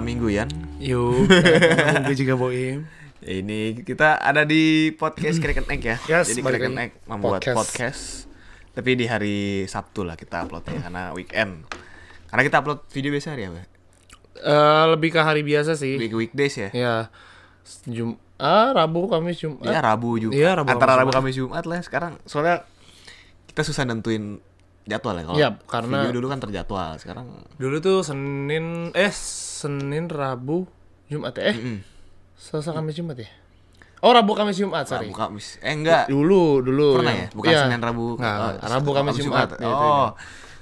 minggu ya. Yuk, gue juga Boim. Ini kita ada di podcast Cricket Egg ya. Yes, Jadi balik Cricket lagi. Egg membuat podcast. Podcast. Tapi di hari Sabtu lah kita uploadnya karena weekend. Karena kita upload video biasa hari apa? Eh, lebih ke hari biasa sih. Week weekdays ya. Ya, Jum ah, Rabu, Kamis, Jumat. Ya Rabu juga. Iya, Rabu, Antara Kamis, Rabu Kamis Jumat lah sekarang. Soalnya kita susah nentuin jadwal ya kalau. Iya, karena- video dulu kan terjadwal. Sekarang Dulu tuh Senin, eh Senin, Rabu, Jumat ya? eh. Selasa, Kamis, Jumat ya. Oh Rabu, Kamis, Jumat sorry. Rabu Kamis. Eh enggak. Dulu, dulu. Pernah ya? Bukan Iya. Senin Rabu. Nggak, Oh, Rabu, Kamis, Jumat. Ya, itu, Oh. itu.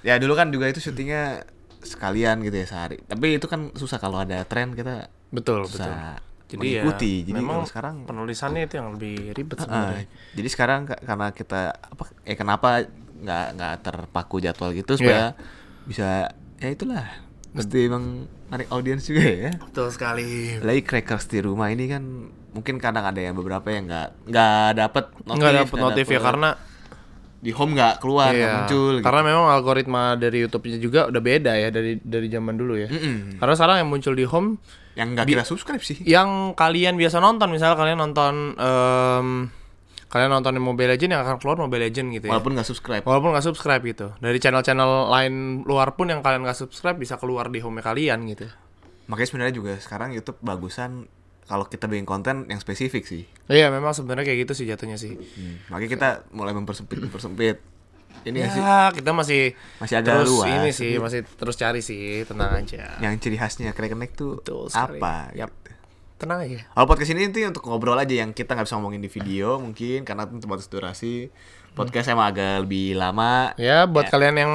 Ya dulu kan juga itu syutingnya sekalian gitu ya sehari. Tapi itu kan susah kalau ada tren kita Betul, betul. susah Jadi ya, mengikuti. Jadi kalau memang sekarang penulisannya itu yang lebih ribet Ah, sebenarnya. jadi sekarang ka- karena kita apa eh kenapa nggak nggak terpaku jadwal Iya. gitu supaya bisa ya itulah mesti emang narik audiens juga ya. Betul sekali. Lagi crackers di rumah ini kan mungkin kadang ada yang beberapa yang nggak nggak dapet notif, Nggak dapet notif ya dapet- karena di home nggak keluar nggak Iya, muncul gitu. Karena memang algoritma dari YouTube-nya juga udah beda ya dari dari zaman dulu ya. Mm-mm. Karena sekarang yang muncul di home yang nggak kita subscribe Iya. sih yang kalian biasa nonton, misalnya kalian nonton em, kalian nonton Mobile Legend yang akan keluar Mobile Legend gitu ya. walaupun nggak subscribe Walaupun nggak subscribe gitu. Dari channel-channel lain luar pun yang kalian nggak subscribe bisa keluar di home kalian gitu. makanya sebenarnya juga sekarang YouTube bagusan kalau kita bikin konten yang spesifik sih Iya, memang sebenarnya kayak gitu sih jatuhnya sih. makanya kita mulai mempersempit mempersempit ini nggak Iya sih Ya, kita masih Masih agak terus luas. gitu. ini sih, masih terus cari sih, tenang aja. yang ciri khasnya keren connect tuh Betul sekali. apa gitu. Yap. Tenang aja. kalau podcast ini itu untuk ngobrol aja yang kita nggak bisa ngomongin di video mungkin karena itu terbatas durasi podcast emang agak lebih lama Hmm. Ya buat kalian yang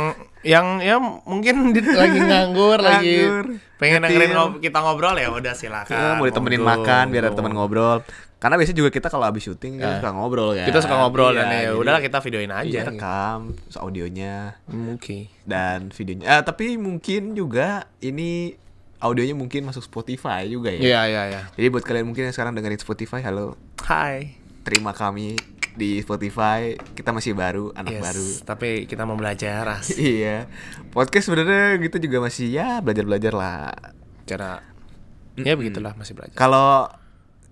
yang ya mungkin di- lagi nganggur lagi Nganggur, pengen nyetir. dengerin ngob- kita ngobrol ya udah silakan. Eh, mau ditemenin monggo, makan biar ada monggo. teman ngobrol karena biasanya juga kita kalau habis syuting kita suka ngobrol kan Ya. Kita suka ngobrol Iya, dan ya jadi udahlah kita videoin aja. kita rekam terus audionya Iya, Oke. dan videonya. Ah, tapi mungkin juga ini audionya mungkin masuk Spotify juga ya. Iya iya iya. Jadi buat kalian mungkin yang sekarang dengerin Spotify, halo, Hai. terima kami di Spotify. Kita masih baru, anak Yes, baru. Tapi kita mau belajar ras. iya. Podcast sebenarnya gitu juga masih ya belajar-belajar lah. Cara ya begitulah masih belajar. Kalau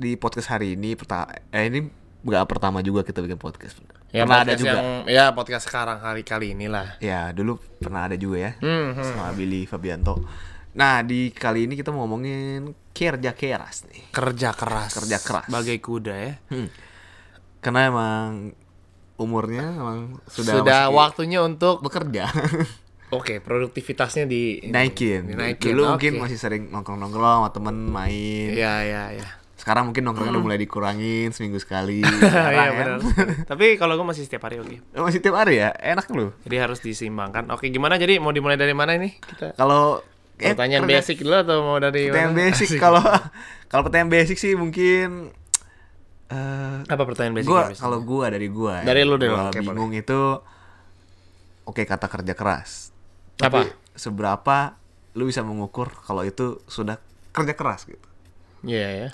di podcast hari ini pertama eh, ini nggak pertama juga kita bikin podcast. Ya, pernah ada podcast juga. Yang, ya podcast sekarang hari kali inilah. Ya, dulu pernah ada juga ya. Hmm, hmm. Sama Billy Fabianto. Nah, di kali ini kita mau ngomongin kerja keras nih. Kerja keras. Kerja keras. Bagai kuda ya. Hmm. Karena emang umurnya emang sudah, Sudah, masuk- waktunya untuk bekerja Oke, produktivitasnya di naikin. Iya, Dinaikin, Dulu oke. mungkin masih sering nongkrong-nongkrong sama temen main. Iya iya iya. Sekarang mungkin nongkrongnya udah mulai dikurangin seminggu sekali. Iya Jarang, kan? benar. Tapi kalau gue masih setiap hari oke. Masih tiap hari ya, enak lu. Jadi harus diseimbangkan. Oke, gimana jadi mau dimulai dari mana ini? Kita Kalau eh, pertanyaan kerja- basic dulu atau mau dari pertanyaan mana? basic Asik. kalau kalau pertanyaan basic sih mungkin eh apa pertanyaan basic? gua biasanya? kalau gua dari gua ya, Dari lu deh, gua oke, bingung itu oke kata kerja keras tapi Apa? seberapa lu bisa mengukur kalau itu sudah kerja keras gitu Iya ya.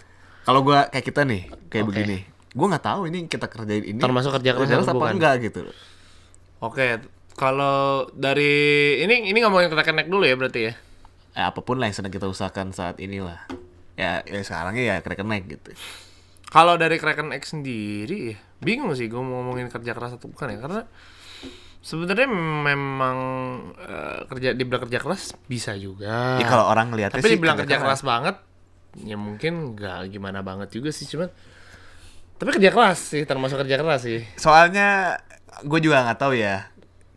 kalau gua kayak kita nih kayak Oke. begini gua nggak tahu ini yang kita kerjain ini Termasuk kerja keras apa atau bukan? enggak gitu loh. Oke, kalau dari ini ini ngomongin kena kenek dulu ya berarti ya. ya, apapun lah yang sedang kita usahakan saat inilah ya, ya sekarangnya ya kena naik gitu Kalau dari Kraken X sendiri, ya, bingung sih gue mau ngomongin kerja keras atau bukan ya karena sebenarnya memang eh, kerja dibilang kerja keras bisa ya juga. kalau orang ngeliatnya Ah. tapi sih dibilang kerja keras banget ya mungkin nggak gimana banget juga sih cuman tapi kerja keras sih termasuk kerja keras sih soalnya gue juga nggak tahu ya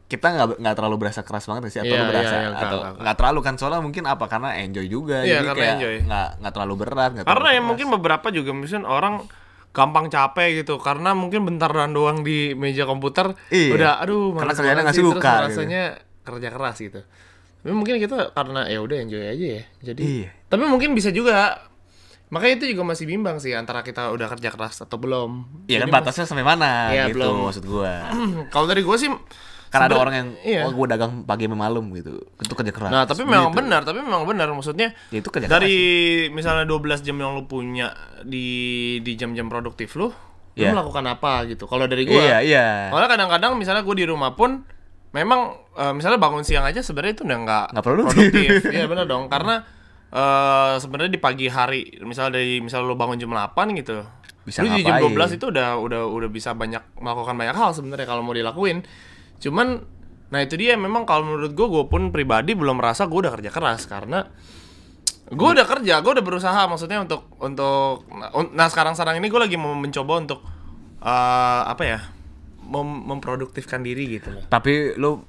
kita nggak nggak terlalu berasa keras banget sih atau Iya, lu berasa iya, iya, nggak, atau nggak, nggak terlalu kan soalnya mungkin apa karena enjoy juga Iya, jadi karena kayak enjoy. nggak nggak terlalu berat nggak karena terlalu ya mungkin beberapa juga mungkin orang gampang capek gitu karena mungkin bentaran doang di meja komputer Iya. udah aduh Karena males kerjaannya banget nggak sih, suka, terus rasanya kerja keras gitu tapi mungkin kita karena ya udah enjoy aja ya jadi Iya. tapi mungkin bisa juga makanya itu juga masih bimbang sih antara kita udah kerja keras atau belum ya kan Jadi batasnya sampai mana Iya, gitu belum. maksud gue kalau dari gue sih karena ada sebener- orang yang iya. oh gue dagang pagi sampai malam gitu itu kerja keras Nah, tapi memang benar, tapi memang benar maksudnya Ya, itu kerja dari misalnya 12 jam yang lu punya di di jam-jam produktif lu, Iya. lu melakukan apa gitu. Kalau dari gua, iya iya soalnya kadang-kadang misalnya gua di rumah pun memang eh, misalnya bangun siang aja sebenarnya itu udah nggak Nggak produktif. produktif. Iya benar dong, karena eh sebenarnya di pagi hari misalnya dari misalnya lo bangun jam 8 gitu Bisa lu di jam ngapain? 12 itu udah udah udah bisa banyak melakukan banyak hal sebenarnya kalau mau dilakuin cuman nah itu dia memang kalau menurut gue gue pun pribadi belum merasa gue udah kerja keras karena gue udah kerja gue udah berusaha maksudnya untuk untuk nah sekarang sekarang ini gue lagi mau mencoba untuk eh, apa ya mem- memproduktifkan diri gitu loh Tapi lu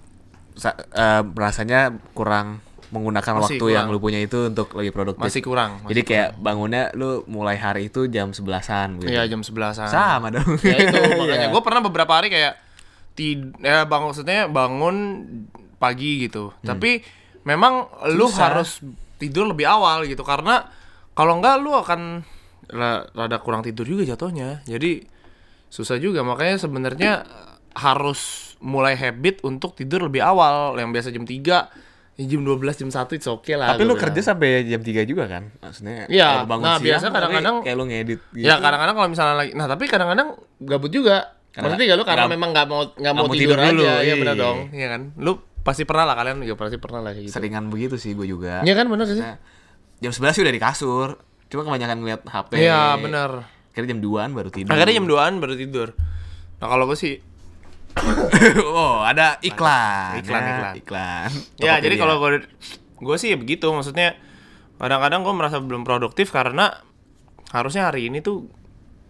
sa- eh, rasanya kurang menggunakan Masih waktu yang kurang. lu punya itu untuk lebih produktif. masih kurang Jadi kayak bangunnya lu mulai hari itu jam 11-an gitu. Iya jam 11-an. Sama dong. ya itu makanya Iya. gue pernah beberapa hari kayak tid eh bangun maksudnya bangun pagi gitu Hmm. tapi memang lu harus tidur lebih awal gitu karena kalau enggak lu akan ra- rada kurang tidur juga jatuhnya jadi susah juga makanya sebenarnya harus mulai habit untuk tidur lebih awal yang biasa jam 3 ya jam 12 jam 1 itu oke lah gitu. Tapi lu gua kerja bilang. sampai jam 3 juga kan? Maksudnya Iya, kalau bangun nah, siang biasa tapi kadang-kadang- kayak lu ngedit gitu. Ya kadang-kadang kalau misalnya lagi, nah tapi kadang-kadang gabut juga. Karena- Maksudnya gak lu karena gab- memang nggak mau nggak nggak mau mau tidur, tidur dulu, aja, iya iya. benar dong, iya kan? Lu pasti pernah lah kalian juga pasti pernah lah kayak gitu. Seringan begitu sih gue juga. Iya kan benar gak sih? Nah, jam 11 sih udah di kasur. Cuma kebanyakan ngeliat HP. Iya benar. Akhirnya jam 2-an baru tidur. Akhirnya jam 2-an baru tidur. Nah kalau gue sih oh, ada iklan. Iklan, ya, iklan. iklan. Ya, Tokopedia. jadi kalau gue gue sih ya begitu, maksudnya kadang-kadang gue merasa belum produktif karena harusnya hari ini tuh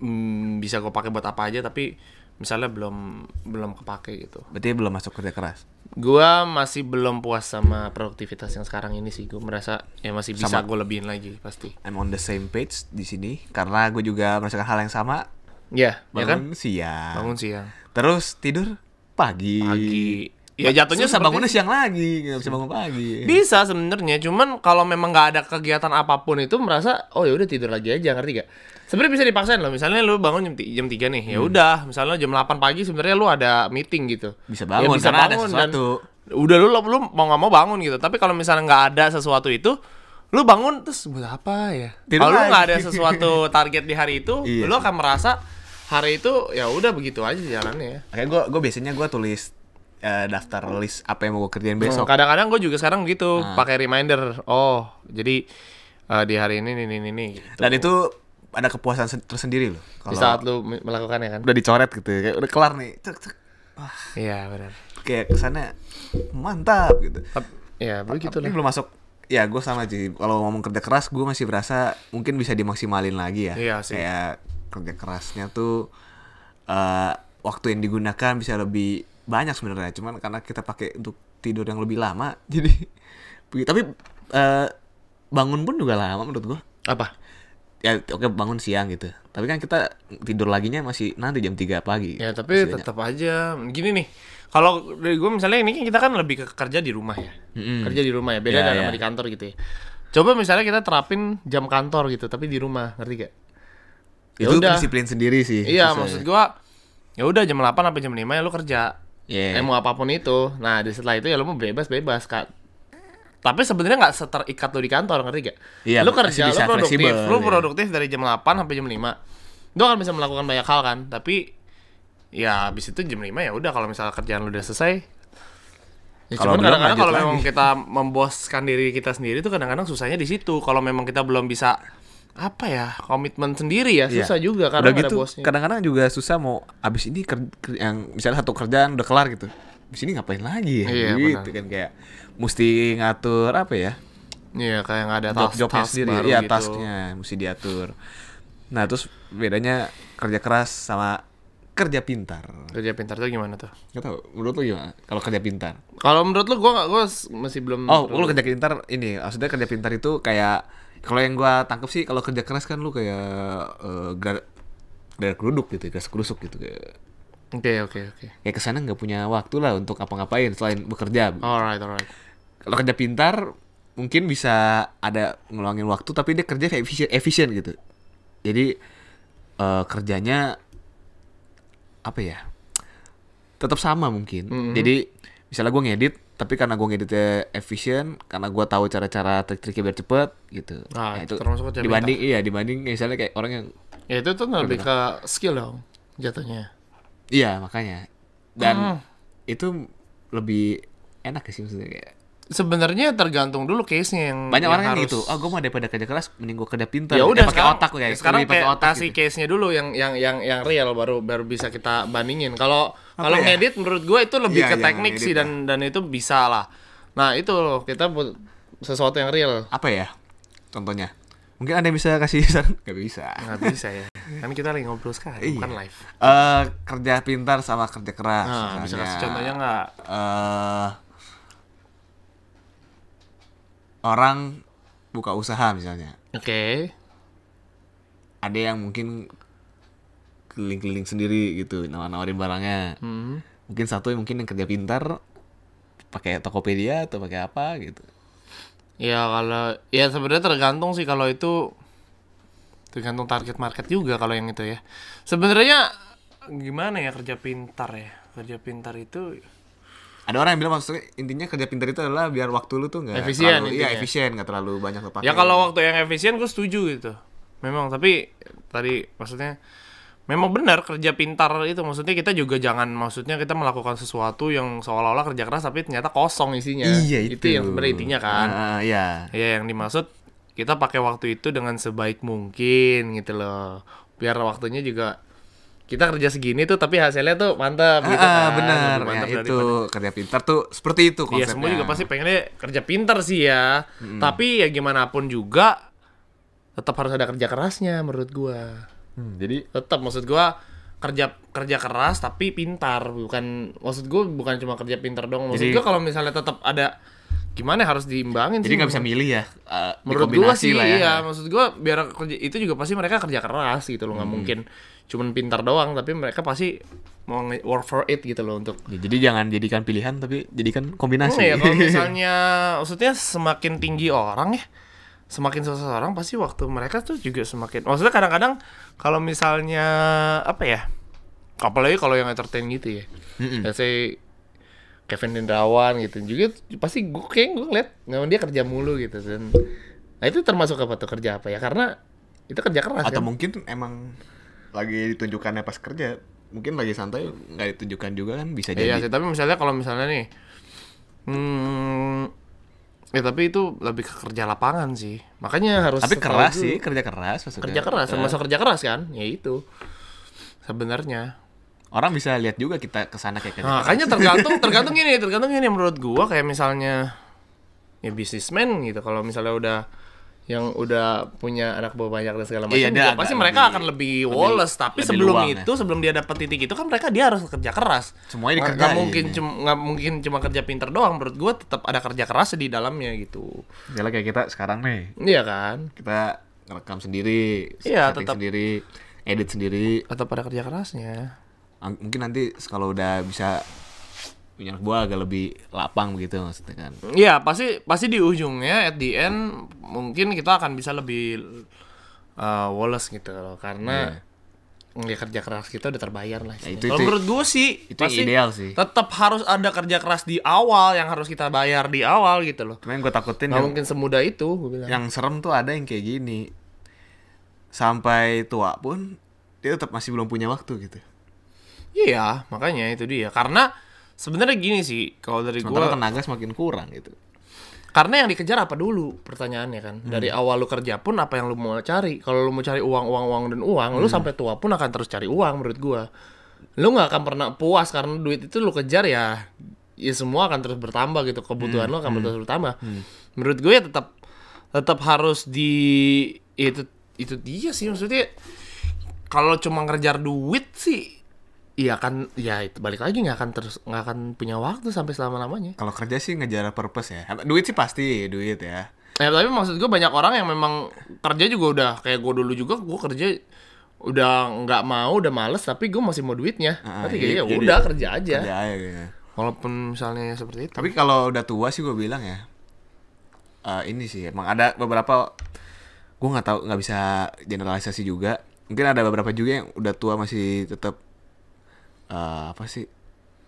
mm, bisa gue pakai buat apa aja tapi misalnya belum belum kepake gitu. berarti belum masuk kerja keras. Gua masih belum puas sama produktivitas yang sekarang ini sih. Gue merasa ya masih bisa Sama. gue lebihin lagi pasti. I'm on the same page di sini karena gue juga merasakan hal yang sama. Ya, ya kan? Iya, Bangun siang. Bangun siang. Terus tidur pagi. Pagi. Ya jatuhnya Susah seperti- bangunnya siang lagi, nggak bisa bangun pagi. Bisa sebenarnya, cuman kalau memang nggak ada kegiatan apapun itu merasa oh ya udah tidur lagi aja, ngerti gak? Sebenarnya bisa dipaksain loh. Misalnya lu bangun jam, ti- jam 3 nih, Hmm. ya udah, misalnya jam 8 pagi sebenarnya lu ada meeting gitu. Bisa Ya, bangun karena ada bangun, dan sesuatu. udah lu, lu mau nggak mau bangun gitu. Tapi kalau misalnya nggak ada sesuatu itu, lu bangun terus buat apa ya? Tidur Kalau lu lagi. nggak ada sesuatu target di hari itu, Iya lu akan merasa hari itu ya udah begitu aja jalannya ya. Makanya gue gue biasanya gue tulis eh, daftar list apa yang mau gue kerjain besok. Kadang-kadang gue juga sekarang gitu, pakai reminder. Oh, jadi eh, di hari ini ini ini ini. gitu. Dan itu ada kepuasan sen- tersendiri loh. Di Kalau saat lu me- melakukannya kan? udah dicoret gitu, kayak udah kelar nih. Cek, cek. Wah, Iya benar. kayak kesannya mantap gitu. Tap- Ya begitu Tapi lah. belum masuk ya gue sama sih kalau ngomong kerja keras gue masih berasa mungkin bisa dimaksimalin lagi ya Iya sih. kayak kerja kerasnya tuh eh waktu yang digunakan bisa lebih banyak sebenarnya cuman karena kita pakai untuk tidur yang lebih lama jadi tapi eh, bangun pun juga lama menurut gue Apa? ya oke bangun siang gitu tapi kan kita tidur laginya masih nanti jam 3 pagi Ya tapi Masih banyak. tetap aja gini nih. Kalau dari gue misalnya ini kan kita kan lebih ke kerja di rumah ya. Mm-mm. Kerja di rumah ya, beda Iya, dari iya. sama di kantor gitu ya. Coba misalnya kita terapin jam kantor gitu, tapi di rumah, ngerti gak? Ya itu udah. disiplin sendiri sih Iya, susah. maksud gua ya udah jam 8 sampai jam 5 ya lu kerja. Iya. Eh, mau apapun itu. Nah, di setelah itu ya lu mau bebas-bebas, Kak. Tapi sebenarnya nggak seterikat lu di kantor, ngerti gak? Iya, lu masih kerja, lu bisa produktif, fleksibel, lu iya. produktif dari jam 8 sampai jam 5. Lu akan bisa melakukan banyak hal kan, tapi ya habis itu jam 5 ya udah kalau misalnya kerjaan lu udah selesai. Ya, Kalau belum, cuman kadang-kadang lanjut kalau memang lagi. kita memboskan diri kita sendiri itu kadang-kadang susahnya di situ. Kalau memang kita belum bisa apa ya komitmen sendiri ya Iya. susah juga udah karena nggak gitu ada bosnya. kadang-kadang juga susah mau abis ini ker- ker- yang misalnya satu kerjaan udah kelar gitu abis ini ngapain lagi ya Iya, gitu kan kayak mesti ngatur apa ya Iya kayak nggak ada task job-jobnya task sendiri baru iya gitu. tasknya mesti diatur nah terus bedanya kerja keras sama kerja pintar Kerja pintar tuh gimana tuh? nggak tahu menurut lu gimana kalau kerja pintar Kalau menurut lu gua nggak gua s- masih belum oh lu kerja pintar ini maksudnya kerja pintar itu kayak kalau yang gua tangkep sih kalau kerja keras kan lu kayak eh gar- garuk geruduk gitu gas kerusuk gitu kayak Oke oke oke. kayak kesana Ya, nggak punya waktu lah untuk apa-ngapain selain bekerja. Alright alright. Kalau kerja pintar mungkin bisa ada ngeluangin waktu tapi dia kerja efisien, efisien gitu. Jadi eh, kerjanya apa ya? Tetap sama mungkin. Mm-hmm. Jadi misalnya gue ngedit tapi karena gue ngeditnya efisien, karena gua tahu cara-cara trik-triknya biar cepet gitu. Ah, itu termasuk kerja dibanding iya dibanding misalnya kayak orang yang Ya itu tuh lebih ke skill dong jatuhnya. Mm-hmm. Iya makanya dan itu lebih enak sih maksudnya kayak sebenarnya tergantung dulu case-nya yang Banyak yang orang yang harus- gitu. Oh, gue mau daripada kerja keras mending gue kerja pintar. Eh, ya udah pakai sekarang- otak ya. sekarang lebih pakai kayak otak kasih gitu. case nya dulu yang yang yang yang real baru baru bisa kita bandingin kalau kalau ya? ngedit menurut gue itu lebih Iya, ke iya, teknik ngedit sih dan dan itu bisa lah nah itu loh kita buat sesuatu yang real Apa ya? Contohnya. Mungkin Anda bisa kasih saran? Gak bisa. nggak bisa ya kan kita lagi ngobrol sekarang bukan live Eh, kerja pintar sama kerja keras. nah, bisa misalnya. kasih contohnya nggak eh orang buka usaha misalnya. oke Ada yang mungkin keliling-keliling sendiri gitu, nawar-nawarin barangnya. Hmm. Mungkin satu yang mungkin yang kerja pintar pakai Tokopedia atau pakai apa gitu. ya kalau ya sebenarnya tergantung sih kalau itu tergantung target market juga kalau yang itu ya sebenarnya gimana ya kerja pintar ya kerja pintar itu Ada orang yang bilang maksudnya intinya kerja pintar itu adalah biar waktu lu tuh nggak Efisien terlalu, iya intinya. efisien nggak terlalu banyak terpakai. Ya kalau waktu yang efisien gue setuju gitu. Memang tapi tadi maksudnya memang benar kerja pintar itu maksudnya kita juga jangan maksudnya kita melakukan sesuatu yang seolah-olah kerja keras tapi ternyata kosong isinya. iya itu, ya, itu. yang sebenarnya intinya kan. Ah, iya. Ya yang dimaksud kita pakai waktu itu dengan sebaik mungkin gitu loh. Biar waktunya juga kita kerja segini tuh tapi hasilnya tuh mantap Ah, gitu ah, kan. benar. Ya, Lebih mantap itu daripada- kerja pintar tuh seperti itu konsepnya. Iya semua juga pasti pengennya kerja pinter sih ya. Tapi ya gimana pun juga tetap harus ada kerja kerasnya menurut gua. Hmm, jadi Tetap maksud gua kerja kerja keras tapi pintar bukan maksud gua bukan cuma kerja pintar dong. Maksud Jadi- gua kalau misalnya tetap ada gimana harus diimbangin Jadi sih. nggak bisa milih ya, eh, menurut gua dikombinasi sih lah ya. iya maksud gua biar kerja itu juga pasti mereka kerja keras gitu loh nggak Hmm. mungkin cuman pintar doang tapi mereka pasti mau nge- work for it gitu loh untuk Ya, jadi jangan jadikan pilihan tapi jadikan kombinasi. Iya, kalau misalnya maksudnya semakin tinggi orang ya, semakin sukses orang pasti waktu mereka tuh juga semakin. Maksudnya kadang-kadang kalau misalnya apa ya? Apalagi kalau yang entertain gitu ya. Mm-mm. Let's say Kevin Dendrawan gitu juga pasti gue kayak gue ngeliat memang dia kerja mulu gitu dan nah itu termasuk apa tuh kerja apa ya karena itu kerja keras Atau kan? mungkin emang lagi ditunjukkannya pas kerja, mungkin lagi santai nggak ditunjukkan juga kan bisa Iya jadi. sih, tapi misalnya kalau misalnya nih, hmm, ya tapi itu lebih ke kerja lapangan sih. Makanya harus tapi setahu keras dulu. sih, Iya. kerja keras maksudnya. kerja keras, termasuk kerja keras kan? Ya itu sebenarnya. Orang bisa lihat juga kita kesana kayak kerja Nah, keras. makanya tergantung, tergantung ini, tergantung ini menurut gua kayak misalnya ya bisnismen gitu. Kalau misalnya udah yang udah punya anak buah banyak dan segala macam, Iya, dia juga agak pasti lebih- mereka akan lebih lebih- woles. Tapi lebih sebelum luang ya. itu, sebelum dia dapat titik itu kan mereka dia harus kerja keras. Semuanya Nggak- dikerjain nggak mungkin ya. cuma nggak mungkin cuma kerja pinter doang. Menurut gua tetap ada kerja keras di dalamnya gitu. Misalnya kayak kita sekarang nih, Iya kan? kita ngerekam sendiri, Iya, setting tetap. sendiri, edit sendiri. Atau pada kerja kerasnya. Ang- Mungkin nanti kalau udah bisa punya anak buah agak lebih lapang begitu maksudnya kan. Iya pasti pasti di ujungnya at the end mungkin kita akan bisa lebih uh, woles gitu loh karena ya kerja keras kita udah terbayar lah. Ya, istilahnya. Iya. itu- Kalau itu- menurut gue sih itu ideal sih. Tetap harus ada kerja keras di awal yang harus kita bayar di awal gitu loh. Cuman gue takutin Gak yang- mungkin semudah itu gue bilang. yang serem tuh ada yang kayak gini sampai tua pun dia tetap masih belum punya waktu gitu Iya makanya itu dia karena sebenarnya gini sih kalau dari sementara gue tenaga semakin kurang gitu karena yang dikejar apa dulu pertanyaannya kan dari awal lu kerja pun apa yang lu mau cari kalau lu mau cari uang uang uang dan uang lu sampai tua pun akan terus cari uang menurut gua lu nggak akan pernah puas karena duit itu lu kejar ya ya semua akan terus bertambah gitu kebutuhan lu akan terus bertambah menurut gue ya tetap tetap harus di itu itu dia sih maksudnya kalau cuma ngejar duit sih ya akan ya itu balik lagi nggak akan terus nggak akan punya waktu sampai selama lamanya kalau kerja sih ngejar purpose ya duit sih pasti duit ya Ya, tapi maksud gue banyak orang yang memang kerja juga udah kayak gue dulu juga gue kerja udah nggak mau udah males tapi gue masih mau duitnya Ah, jadi- tapi kayaknya ya jadi- udah kerja aja Kerja aja gitu. walaupun misalnya seperti itu tapi kalau udah tua sih gue bilang ya eh, ini sih emang ada beberapa gue nggak tahu nggak bisa generalisasi juga mungkin ada beberapa juga yang udah tua masih tetap eh, apa sih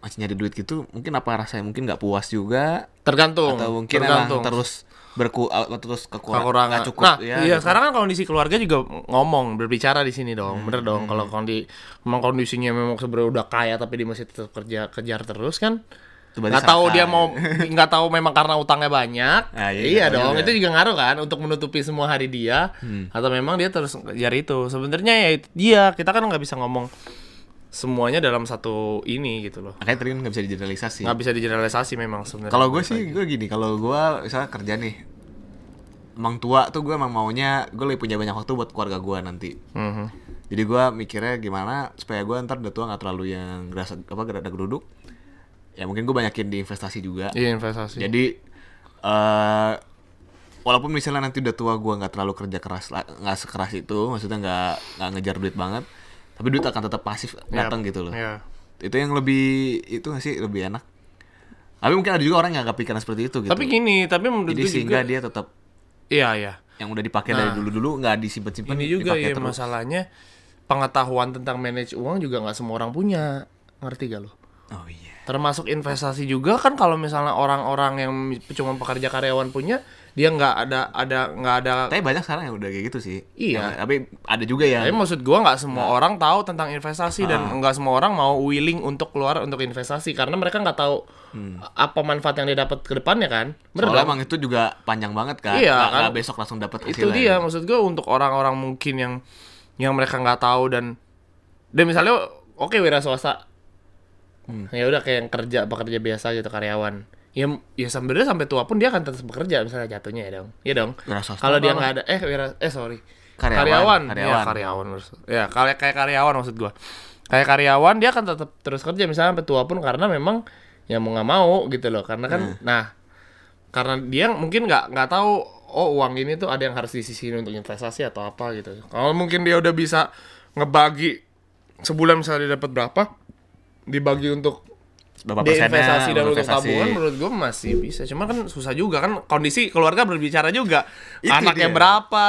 masih nyari duit gitu mungkin apa rasanya mungkin nggak puas juga tergantung atau mungkin tergantung emang terus berku atau terus kekurangan kekurangan nggak cukup nah ya iya gitu. sekarang kan kondisi keluarga juga ngomong berbicara di sini dong bener dong Hmm. kalau kondi memang kondisinya memang sebenarnya udah kaya tapi dia masih tetap kerja kejar terus kan Itu berarti nggak tahu sangka. dia mau nggak tahu memang karena utangnya banyak Ah, iya, iya nggak tahu dong juga. Hmm. itu juga ngaruh kan untuk menutupi semua hari dia atau memang dia terus ngejar itu sebenarnya ya itu dia kita kan nggak bisa ngomong semuanya dalam satu ini gitu loh Makanya tadi kan nggak bisa digeneralisasi. nggak bisa digeneralisasi memang sebenarnya Kalau gue sih gue gini, kalau gue misalnya kerja nih, emang tua tuh gue emang maunya gue lebih punya banyak waktu buat keluarga gue nanti. Mhm. Jadi gue mikirnya gimana supaya gue ntar udah tua nggak terlalu yang gerasa apa gerada geruduk. Ya mungkin gue banyakin di investasi juga. iya investasi Jadi eh walaupun misalnya nanti udah tua gua nggak terlalu kerja keras la- nggak sekeras itu, maksudnya nggak nggak ngejar duit banget, tapi duit akan tetap pasif datang gitu loh. Iya. Itu yang lebih itu nggak sih lebih enak. Tapi mungkin ada juga orang yang nggak kepikiran seperti itu gitu. tapi gini tapi menurut Jadi gue sehingga juga dia tetap iya iya yang udah dipakai dari dulu-dulu nggak disimpan-simpan ini juga dipakai ya terus. masalahnya pengetahuan tentang manage uang juga nggak semua orang punya ngerti gak lo Oh iya. termasuk investasi juga kan kalau misalnya orang-orang yang cuma pekerja karyawan punya dia nggak ada ada nggak ada Tapi banyak sekarang yang udah kayak gitu sih. Iya. Yang- tapi ada juga yang tapi maksud gua nggak Nah. semua orang tahu tentang investasi dan Ah. nggak semua orang mau willing untuk keluar untuk investasi karena mereka nggak tahu apa manfaat yang dia dapat ke depannya kan bener Hmm. Soalnya dong? emang itu juga panjang banget kan. Iya, Nggak- kan. nggak besok langsung dapat itu hasilnya. gitu. dia maksud gua untuk orang-orang mungkin yang yang mereka nggak tahu dan dan misalnya oke wira swasta Hmm. ya udah kayak yang kerja pekerja biasa gitu karyawan ya ya sebenarnya sampai tua pun dia akan tetap bekerja misalnya jatuhnya ya dong ya dong Wira swasta kalau dia apa? nggak ada eh wira eh sorry Karyawan, karyawan karyawan. ya karyawan maksud- ya kayak kayak karyawan maksud gua kayak karyawan dia akan tetap terus kerja misalnya sampai tua pun karena memang ya mau nggak mau gitu loh karena kan Hmm. nah karena dia mungkin nggak nggak tahu oh uang ini tuh ada yang harus disisihin untuk investasi atau apa gitu kalau mungkin dia udah bisa ngebagi sebulan misalnya dia dapat berapa dibagi untuk Berapa persennya investasi dan untuk investasi. tabungan menurut gue masih bisa cuma kan susah juga kan kondisi keluarga berbicara juga Itu dia. anaknya Ah. berapa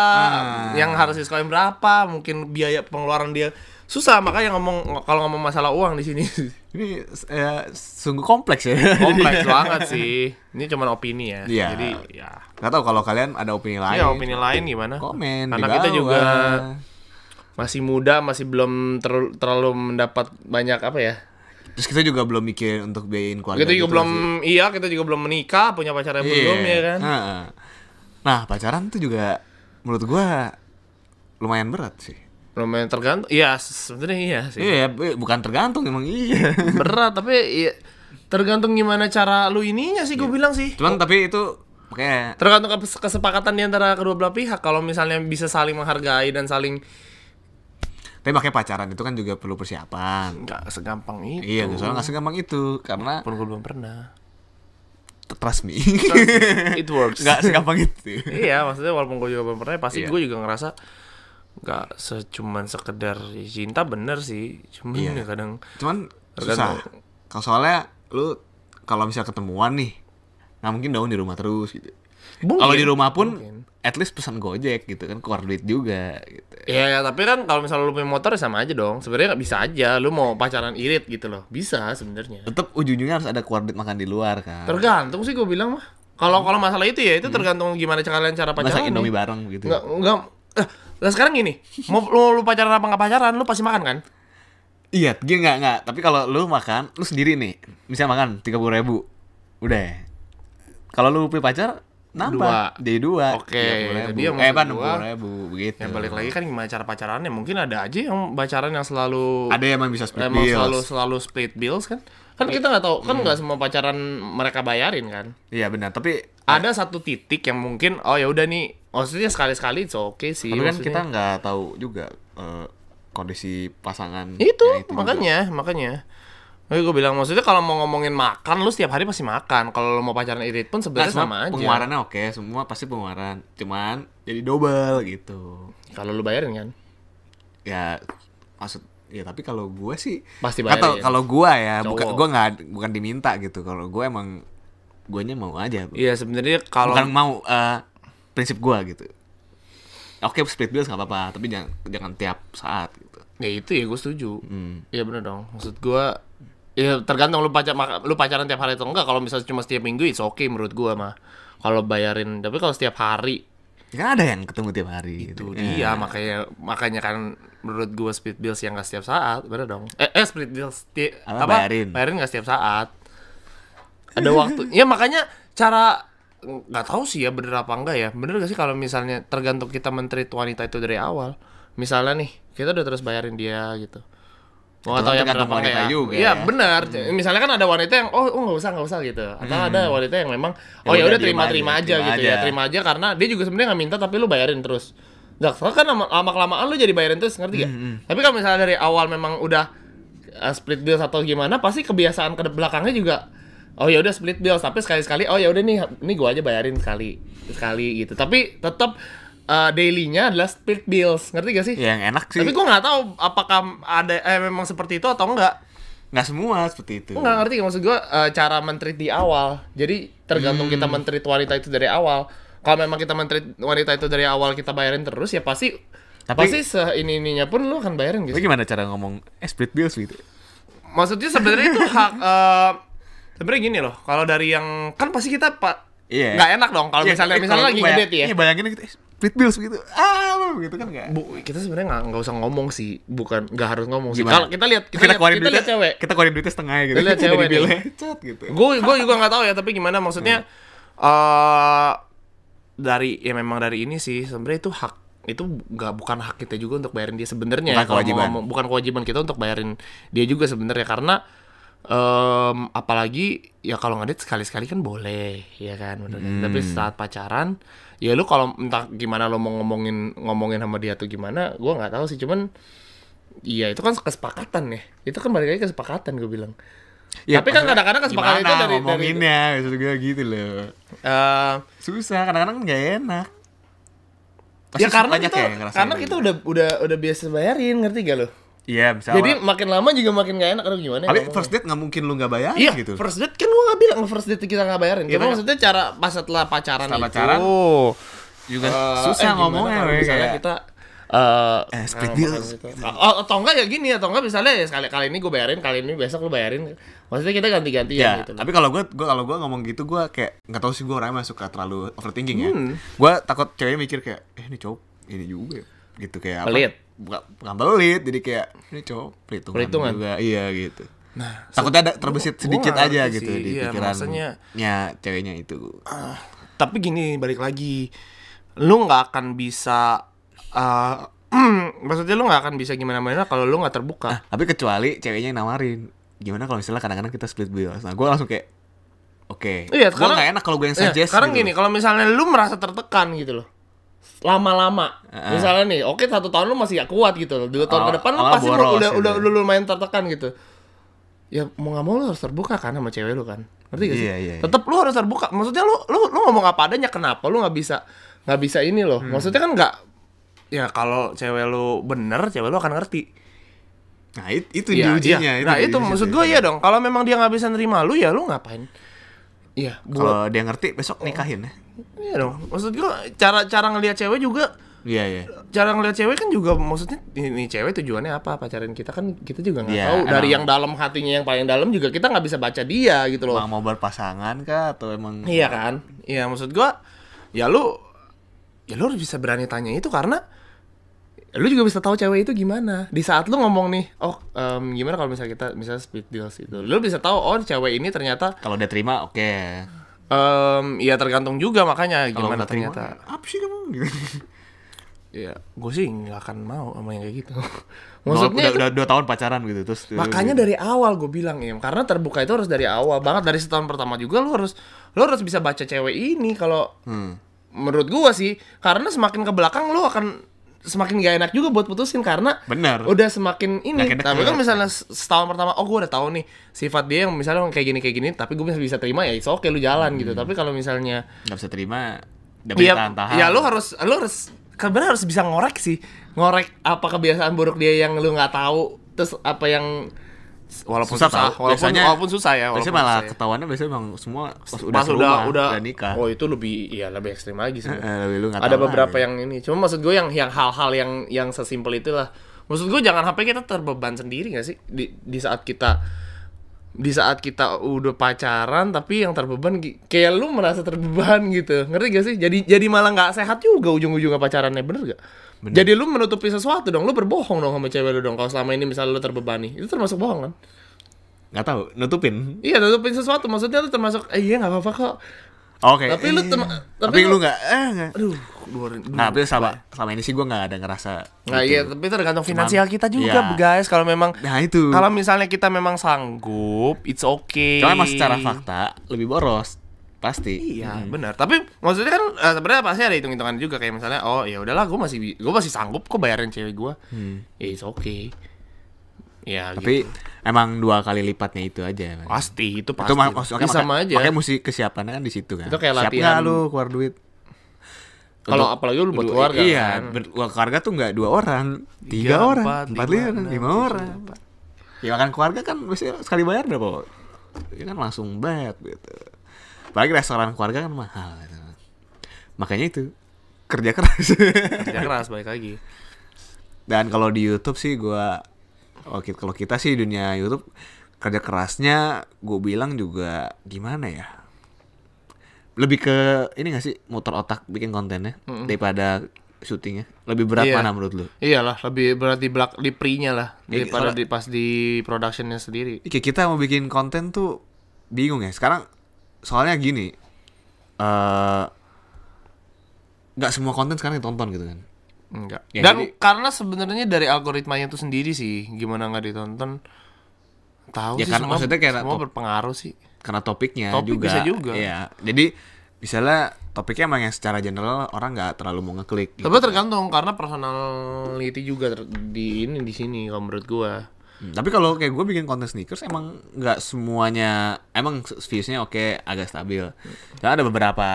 yang harus disekolahin berapa mungkin biaya pengeluaran dia susah makanya ngomong kalau ngomong masalah uang di sini Ini eh, sungguh kompleks ya. kompleks banget sih ini cuma opini ya Iya. jadi ya Gak tau kalau kalian ada opini lain. Ya, opini lain gimana? Komen Karena di kita bawah. juga masih muda, masih belum ter- terlalu mendapat banyak apa ya? Terus kita juga belum mikir untuk biayain keluarga. Kita juga gitu belum nggak iya, kita juga belum menikah, punya pacar yang sih? belum Iya. ya kan? Heeh. Nah pacaran tuh juga menurut gua lumayan berat sih. Lumayan tergantung. Iya, se- sebenarnya iya sih. Iya, bu- bukan tergantung emang iya. Berat tapi iya, tergantung gimana cara lu ininya sih gue bilang sih. Cuman tapi itu kayak Tergantung kes- kesepakatan di antara kedua belah pihak kalau misalnya bisa saling menghargai dan saling tapi makanya pacaran itu kan juga perlu persiapan. nggak segampang itu. Iya, soalnya nggak segampang itu karena Pun gue belum pernah. trust me. It works. Nggak segampang itu. iya maksudnya walaupun gue juga belum pernah ya pasti Iya. gue juga ngerasa nggak secuman sekedar cinta bener sih cuman ya kadang cuman susah Tergantung. kalau soalnya lu kalau misal ketemuan nih nggak mungkin dong di rumah terus gitu kalau di rumah pun at least pesan gojek gitu kan keluar duit juga gitu Iya, ya, tapi kan kalau misalnya lu punya motor ya sama aja dong. Sebenarnya nggak bisa aja. Lu mau pacaran irit gitu loh. Bisa sebenarnya. tetap ujung-ujungnya harus ada keluar duit makan di luar kan Ah. Tergantung sih gue bilang mah. Kalau kalau masalah itu ya itu tergantung gimana cara kalian cara masak pacaran. indomie bareng gitu Enggak enggak eh, lah sekarang gini, mau lu, lu pacaran apa nggak pacaran, lu pasti makan kan? iya gini nggak nggak tapi kalau lu makan lu sendiri nih misal makan tiga puluh ribu udah ya. kalau lu punya pacar nambah Dua. jadi dua Oke, jadi dia yang eh maksud kan gua- enam puluh ribu begitu Ya balik lagi kan gimana cara pacarannya. Mungkin ada aja yang pacaran yang selalu ada yang emang bisa split emang bills. selalu selalu split bills kan kan kita nggak tahu kan nggak semua pacaran mereka bayarin kan iya benar tapi ada satu titik yang mungkin oh ya udah nih maksudnya sekali sekali itu oke sih Tapi kan maksudnya. kita nggak tahu juga eh, kondisi pasangan. itu, ya juga. makanya makanya Makanya gue bilang maksudnya kalau mau ngomongin makan lu setiap hari pasti makan kalau lu mau pacaran irit Nah, pun sebenarnya semua sama aja pengeluarannya oke, semua pasti pengeluaran. Cuman jadi double gitu. kalau lu bayarin kan Ya maksud ya tapi kalau gue sih Pasti nggak tahu, bayarin. kalau gue ya bukan Cowok. gue nggak bukan diminta gitu. Kalau gue emang guanya mau aja. iya sebenarnya kalau Bukan mau eh, prinsip gue gitu. Oke split bills nggak apa-apa, tapi jangan jangan tiap saat gitu. ya itu ya gue setuju Hmm. iya bener dong maksud gue ya tergantung lu pacar maka- lu pacaran tiap hari atau enggak kalau misalnya cuma setiap minggu itu oke menurut gue mah kalau bayarin tapi kalau setiap hari Kan ada yang ketemu tiap hari. itu gitu. dia Iya, makanya makanya kan menurut gue split bills yang gak setiap saat bener dong eh, eh split bills ti- Apa, bayarin? bayarin gak setiap saat ada waktu ya makanya cara nggak tahu sih ya bener apa enggak ya bener gak sih kalau misalnya tergantung kita menteri wanita itu dari awal misalnya nih kita udah terus bayarin dia gitu Mau Itu nggak tahu kan yang bener tergantung apa enggak wanita ya. juga Iya, ya. benar misalnya kan ada wanita yang oh oh nggak usah nggak usah gitu atau ada wanita yang memang oh Hmm. Ya ya udah, udah diem terima terima aja, aja terima gitu aja. ya terima aja karena dia juga sebenarnya nggak minta tapi lu bayarin terus Gak kan lama kelamaan lu jadi bayarin terus ngerti gak? Tapi kalau misalnya dari awal memang udah uh, split bills atau gimana pasti kebiasaan ke belakangnya juga oh ya udah split bills tapi sekali-sekali oh ya udah nih ini gua aja bayarin sekali sekali gitu. Tapi tetap uh, dailynya adalah split bills. Ngerti gak sih? Ya, yang enak sih Tapi gua nggak tahu apakah ada eh, memang seperti itu atau enggak. nggak semua seperti itu Gua nggak ngerti maksud gua eh, cara menteri di awal. Jadi tergantung kita menteri wanita itu dari awal. Kalau memang kita menteri wanita itu dari awal kita bayarin terus ya pasti Tapi- pasti ini ininya pun lu akan bayarin Tapi gitu. gimana cara ngomong eh, split bills gitu Maksudnya sebenarnya itu hak eh, sebenarnya gini loh. Kalau dari yang kan pasti kita pak Iya. nggak enak dong kalau Iya, misalnya eh, misalnya kalau lagi gua bayang- ngedate ya. iya, bayangin gitu eh, split bills gitu ah gitu kan nggak Bu, kita sebenarnya nggak nggak usah ngomong sih, bukan nggak harus ngomong sih. Gimana? Kalau kita lihat kita, kita lihat, keluarin kita lihat duitnya- cewek. kita keluarin duitnya setengah gitu Kita lihat Jadi cewek nih. bilnya, cet, gitu gue gue juga nggak tahu ya tapi gimana maksudnya eh dari ya memang dari ini sih sebenarnya itu hak itu nggak bukan hak kita juga untuk bayarin dia sebenarnya Bukan ya, kalau mau kewajiban. ngomong. bukan kewajiban kita untuk bayarin dia juga sebenarnya karena em, apalagi ya kalau ngedit sekali-sekali kan boleh ya kan bener kan? tapi Hmm. saat pacaran ya lu kalau entah gimana lo mau ngomongin ngomongin sama dia tuh gimana gua nggak tahu sih cuman Iya itu kan kesepakatan ya Itu kan balik lagi kesepakatan gue bilang Ya, Tapi kan maksudnya kadang-kadang kesepakatan itu gimana dari- dari- ngomonginnya maksud gue gitu loh eh susah kadang-kadang nggak enak Pasti ya karena banyak kita yang ngerasain gitu. karena itu. kita udah udah udah biasa bayarin ngerti gak lo? iya misalnya Jadi makin lama juga makin gak enak aduh gimana? ya tapi ngomongnya. first date nggak mungkin lu nggak bayarin Iya, gitu first date kan gua gak bilang first date kita gak bayarin. Iya, Cuma makanya- maksudnya cara pas setelah pacaran Setelah itu, pacaran, eh, juga eh, susah gimana ngomongnya kalau weh, misalnya kayak- kita eh, Eh, split ah, bill. makan gitu. Oh, atau enggak ya gini atau enggak misalnya ya sekali kali ini gue bayarin, kali ini besok lu bayarin. Maksudnya kita ganti-gantian Ya, gitu. loh. tapi kalau gue gua kalau gua ngomong gitu gue kayak nggak tahu sih gue orangnya masuk suka terlalu overthinking ya. Hmm. Gue takut cewek mikir kayak eh ini cowok ini juga ya. gitu kayak apa? Pelit. Bukan, bukan pelit, jadi kayak ini cowok perhitungan, Perhitungan. juga. Iya gitu. Nah, takutnya ada terbesit gua sedikit nggak aja ngerti gitu sih. di Iya, pikirannya maksudnya- ceweknya itu. tapi gini balik lagi lu nggak akan bisa eh, maksudnya lu nggak akan bisa gimana mana kalau lu nggak terbuka Tapi kecuali ceweknya yang nawarin. Gimana kalau misalnya kadang-kadang kita split bill. Nah, gue langsung kayak oke. gue Iya, sekarang- nggak enak kalau gue yang Iya, suggest. sekarang gitu. gini kalau misalnya lu merasa tertekan gitu loh lama-lama misalnya nih oke satu tahun lu masih gak kuat gitu loh dua tahun Awal- ke depan lu awal pasti lu boros udah gitu udah ya. lu lumayan tertekan gitu ya mau nggak mau lu harus terbuka kan sama cewek lu kan ngerti gak sih Iya, iya, iya. tetap lu harus terbuka maksudnya lu lu lu ngomong apa adanya kenapa lu nggak bisa nggak bisa ini loh Hmm. maksudnya kan nggak ya kalau cewek lu bener cewek lu akan ngerti Nah, it- itu Iya, di ujinya. iya. Nah, di itu uji maksud situ. gue ya dong. Kalau memang dia nggak bisa nerima lu ya lu ngapain? Iya, buat Kalau dia ngerti besok nikahin ya. iya dong. Maksud gue cara cara ngelihat cewek juga Iya, iya. cara ngelihat cewek kan juga maksudnya ini cewek tujuannya apa pacaran kita kan kita juga nggak Iya, tahu emang. dari yang dalam hatinya yang paling dalam juga kita nggak bisa baca dia gitu loh. Emang mau berpasangan kah atau emang Iya kan? Iya maksud gua ya lu ya lu harus bisa berani tanya itu karena lu juga bisa tahu cewek itu gimana. Di saat lu ngomong nih, oh em, gimana kalau misalnya kita misalnya speed deals itu. Lu bisa tahu oh cewek ini ternyata kalau dia terima oke. em ya tergantung juga makanya Kalau gimana nggak terima, ternyata. apa sih kamu? Gitu. Ya, gue sih nggak akan mau sama yang kayak gitu. Maksudnya Maksudnya udah, itu- udah dua tahun pacaran gitu terus. Makanya dari awal gue bilang ya, karena terbuka itu harus dari awal banget dari setahun pertama juga lu harus lu harus bisa baca cewek ini kalau Hmm. menurut gua sih karena semakin ke belakang lu akan semakin gak enak juga buat putusin karena Bener. udah semakin ini Gak enak tapi juga. kan misalnya se- setahun pertama oh gue udah tahu nih sifat dia yang misalnya kayak gini kayak gini tapi gue bisa bisa terima ya it's okay lu jalan gitu Hmm. tapi kalau misalnya nggak bisa terima, udah Iya, tahan-tahan. ya lu harus lu harus kabar harus bisa ngorek sih. Ngorek apa kebiasaan buruk dia yang lu nggak tahu, terus apa yang walaupun susah, susah, tahu. walaupun biasanya, walaupun susah ya, walaupun Biasanya malah susah ya. ketahuannya biasanya emang semua pas udah Pas udah serumah, udah, udah nikah. Oh, itu lebih iya lebih ekstrim lagi sih. Eh, lebih lu nggak Ada tahu beberapa lagi. yang ini. Cuma maksud gue yang yang hal-hal yang yang sesimpel itulah. Maksud gue jangan sampai kita terbeban sendiri gak sih di di saat kita di saat kita udah pacaran tapi yang terbeban gi- kayak lu merasa terbeban gitu ngerti gak sih jadi jadi malah nggak sehat juga ujung-ujungnya pacarannya bener gak jadi lu menutupi sesuatu dong lu berbohong dong sama cewek lu dong kalau selama ini misalnya lu terbebani itu termasuk bohong kan nggak tahu nutupin Iya nutupin sesuatu maksudnya lu termasuk eh iya nggak apa-apa kok. oke Oh, Iya. Tapi lu tem- tapi, tapi lu- lu nggak eh nggak Aduh, luarin. nah tapi selama selama ini sih gue nggak ada ngerasa Nah, gitu. iya, tapi tergantung finansial Cuman, kita juga, iya. guys. Kalau memang nah itu kalau misalnya kita memang sanggup, it's okay. Cuma emang secara fakta lebih boros pasti. Iya, benar. Tapi maksudnya kan eh, sebenarnya pasti ada hitung-hitungan juga kayak misalnya oh ya udahlah gue masih bi- gua masih sanggup kok bayarin cewek gue. Ya it's okay. Ya Hmm. Tapi gitu. emang dua kali lipatnya itu aja. emang. pasti itu Itu pasti. ma- maksudnya Ini sama aja. Makanya mesti kesiapannya kan di situ kan. Itu kayak Siap nggak latihan. lu keluar duit. Kalau Untuk- apalagi lu buat Dua- keluarga Iya, kan. ber- keluarga tuh nggak dua orang, tiga orang, empat orang, lima orang. Ya makan keluarga kan mesti sekali bayar dah kok. Ya kan langsung bayar gitu. Apalagi restoran keluarga kan mahal. Gitu. Makanya itu kerja keras. Kerja keras balik lagi. Dan kalau di YouTube sih gua kalau kita, kalau kita sih dunia YouTube kerja kerasnya gue bilang juga gimana ya? Lebih ke ini gak sih motor otak bikin kontennya daripada syutingnya. Lebih berat Iya. mana menurut lu? Iyalah, lebih berat di belak di pre-nya lah Iya, daripada soalnya- di pas di productionnya sendiri. Oke, kita mau bikin konten tuh bingung ya. Sekarang soalnya gini. eh nggak semua konten sekarang ditonton gitu kan. Enggak. Ya, Dan jadi- karena sebenarnya dari algoritmanya itu sendiri sih, gimana nggak ditonton tahu Ya, sih karena semua, maksudnya kayak- semua berpengaruh sih. karena topiknya Topik juga. bisa juga. Iya. Jadi misalnya topiknya emang yang secara general orang nggak terlalu mau ngeklik. gitu. Tapi tergantung karena personality juga ter- di ini di sini kalau menurut gua. Hmm, Tapi kalau kayak gue bikin konten sneakers emang nggak semuanya emang s- viewsnya oke agak stabil. Cuma ada beberapa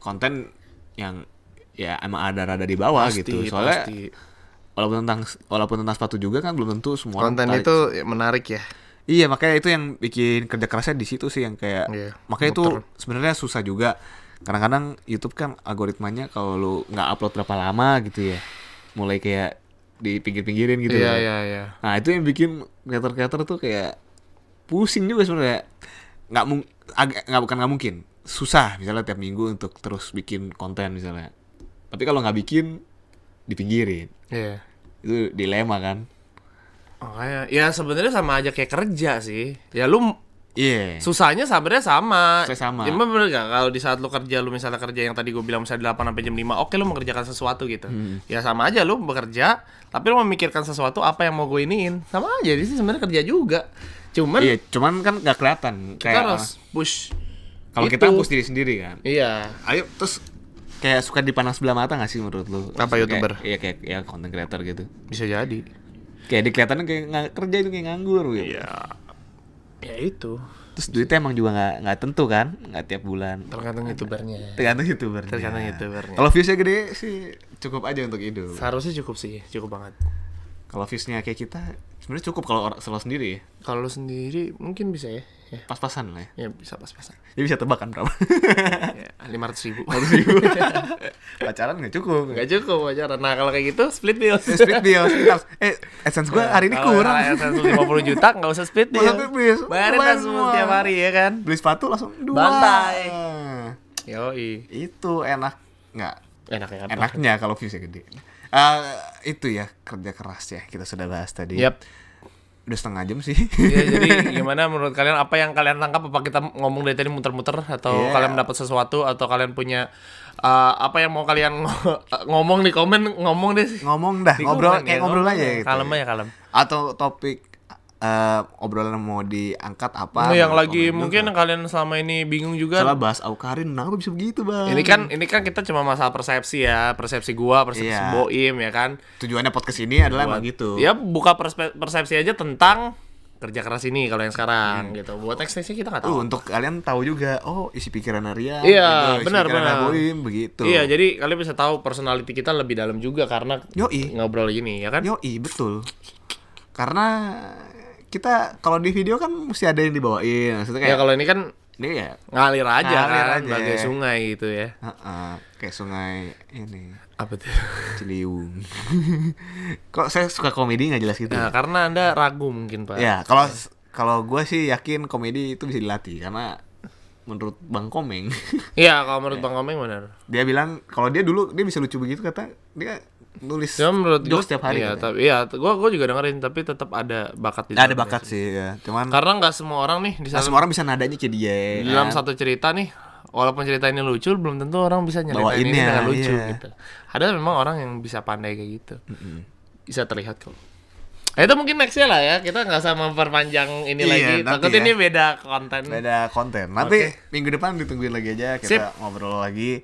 konten yang ya emang ada rada di bawah gitu. Soalnya pasti. walaupun tentang walaupun tentang sepatu juga kan belum tentu semua orang konten tertarik. itu ya, menarik ya. Iya makanya itu yang bikin kerja kerasnya di situ sih yang kayak Iya, makanya itu muter. sebenarnya susah juga. Kadang-kadang YouTube kan algoritmanya kalau lu nggak upload berapa lama gitu ya, mulai kayak di pinggir-pinggirin gitu. ya. Iya iya iya. Nah itu yang bikin creator-creator tuh kayak pusing juga sebenarnya. Nggak mung agak nggak bukan nggak mungkin, susah misalnya tiap minggu untuk terus bikin konten misalnya. Tapi kalau nggak bikin dipinggirin Iya. itu dilema kan. Makanya ya sebenarnya sama aja kayak kerja sih. Ya lu Iya. susahnya sabarnya sama. Susahnya sama. Cuma bener gak kalau di saat lu kerja lu misalnya kerja yang tadi gue bilang misalnya 8 sampai jam 5, oke lu mengerjakan sesuatu gitu. Hmm. Ya sama aja lu bekerja, tapi lu memikirkan sesuatu apa yang mau gue iniin. Sama aja di sini sebenarnya kerja juga. Cuman Iya, cuman kan nggak kelihatan kita kayak harus push. Kalau itu. kita push diri sendiri kan. Iya. Ayo terus kayak suka dipandang sebelah mata gak sih menurut lu? Apa, Kayak- YouTuber? Iya kayak ya content creator gitu. Bisa jadi. Kayak dikelihatannya kayak nggak kerja itu kayak nganggur gitu. Ya. Ya itu. Terus duitnya emang juga nggak nggak tentu kan? Nggak tiap bulan. Tergantung youtubernya. Tergantung youtubernya. Tergantung youtubernya. Kalau viewsnya gede sih cukup aja untuk hidup. Seharusnya cukup sih, cukup banget. Kalau viewsnya kayak kita sebenarnya cukup kalau orang solo sendiri ya. Kalau lu sendiri mungkin bisa ya. Ya, Pas-pasan lah ya. ya bisa pas-pasan. Dia bisa tebak kan berapa. Ya, 500 ribu. Pacaran nggak cukup. Gak cukup wajar. Nah kalau kayak gitu split bill. Eh, split bill, sebentar. Eh, essence gue hari ini Kalau kurang. LSS 150 juta nggak usah split deal. Nggak usah split deal. Bayarin Bayar langsung semua. tiap hari ya kan. beli sepatu langsung dua Bantai. Nah, Yoi. itu enak nggak Enak ya. enaknya kalau viewsnya gede Eh, itu ya kerja keras ya kita sudah bahas tadi Yap. udah setengah jam sih Ya, jadi gimana menurut kalian apa yang kalian tangkap apa kita ngomong dari tadi muter-muter atau Iya. kalian mendapat sesuatu atau kalian punya eh, apa yang mau kalian ngomong di komen ngomong deh ngomong dah Di ngobrol komen, kayak ya, ngobrol ngomong aja ya. gitu Kalem aja kalem. atau topik eh, obrolan yang mau diangkat apa yang mau lagi komen mungkin juga. kalian selama ini bingung juga salah bahas Aukarin kenapa bisa begitu bang Ini kan ini kan kita cuma masalah persepsi ya, persepsi gua, persepsi Hmm. Iya. Boim ya kan. tujuannya podcast ini adalah emang gitu Ya buka perspe- persepsi aja tentang kerja keras ini kalau yang sekarang Hmm. gitu. Buat next nextnya kita nggak tahu. Tuh, untuk kalian tahu juga oh isi pikiran Arya Iya, isi benar, pikiran benar. Aboim, begitu Iya, jadi kalian bisa tahu personality kita lebih dalam juga karena Yoi. ngobrol gini ya kan. Yoi betul Karena kita kalau di video kan mesti ada yang dibawain Maksudnya Ya kayak kalau ini kan ini ya ngalir aja Ngalir kan, aja. bagai sungai gitu ya. heeh, Kayak sungai ini Apa tuh? Iya. Ciliwung Kok saya suka komedi nggak jelas gitu ya? Nah, karena Anda ragu mungkin, Pak. Ya kalau kalau gue sih yakin komedi itu bisa dilatih Karena menurut Bang Komeng Iya, kalau menurut Bang Komeng benar. Dia bilang kalau dia dulu dia bisa lucu begitu kata Dia nulis Cuma Ya, menurut gua- jokes setiap hari. Iya, katanya. tapi iya, gua gua juga dengerin tapi tetap ada bakat di ada dalamnya bakat sih, ya. Cuman Karena nggak semua orang nih di nggak dalam, semua orang bisa nadanya kayak dia. kan. di dalam satu cerita nih, walaupun cerita ini lucu, belum tentu orang bisa nyeritain ini Bawainnya, dengan lucu iya. gitu. Ada memang orang yang bisa pandai kayak gitu. Bisa terlihat kok. Eh, itu mungkin nextnya lah ya. Kita nggak usah memperpanjang ini Iya, lagi. nanti Takut ya. ini beda konten. beda konten. Nanti minggu depan ditungguin lagi aja kita Hmm. Sip. ngobrol lagi.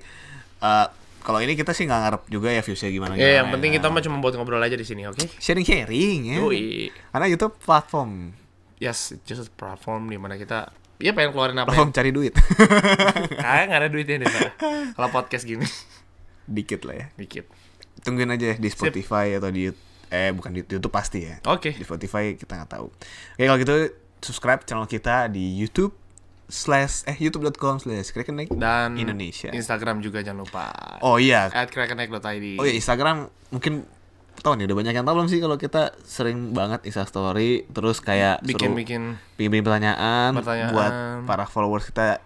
Eh kalau ini kita sih nggak ngarep juga ya viewsnya gimana gimana. Ya, yang penting kita mah cuma buat ngobrol aja di sini, oke? sharing sharing ya. Yoi. Karena YouTube platform Yes, it's just a platform di mana kita ya pengen keluarin apa platform cari duit. ya? Kayaknya nggak ada duitnya deh, Pak. Kalau podcast gini, Dikit lah ya. dikit. Tungguin aja di Spotify atau di Yout- eh bukan di YouTube pasti ya. Oke. Di Spotify kita nggak tahu. Oke kalau gitu subscribe channel kita di YouTube slash eh youtube.com slash Krekenek Dan Indonesia. Instagram juga jangan lupa. Oh iya, At krakenek.id. Oh ya Instagram mungkin tahu nih udah banyak yang tahu belum sih kalau kita sering banget Insta story terus kayak suruh- Bikin-bikin bikin-bikin pertanyaan, Pertanyaan. buat para followers kita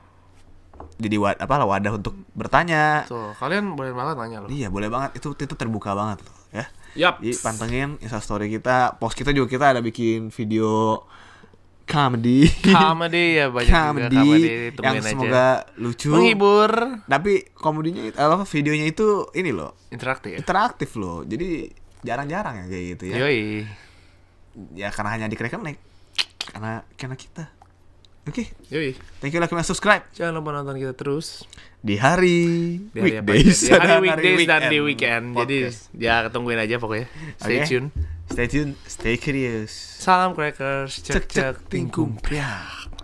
jadi wad, apa lah wadah untuk bertanya. tuh, kalian boleh banget nanya loh. Iya, boleh banget itu itu terbuka banget loh ya. Yap. Jadi pantengin Insta story kita, post kita juga kita ada bikin video comedy. Comedy ya banyak juga comedy, yang tungguin aja. semoga lucu. menghibur, Tapi komedinya itu- apa videonya itu ini loh interaktif. ya? interaktif loh jadi jarang-jarang ya kayak gitu ya Iya. Yoi. ya karena hanya di Krekenek karena karena kita oke Yoi. thank you like and subscribe Jangan lupa nonton kita terus di hari di hari apa weekdays aja. Di hari dan weekdays dan di weekend weekend. Jadi podcast. ya tungguin aja pokoknya. Stay Oke. tune. stay tuned stay curious Salam crackers, cek cek tingkum. priak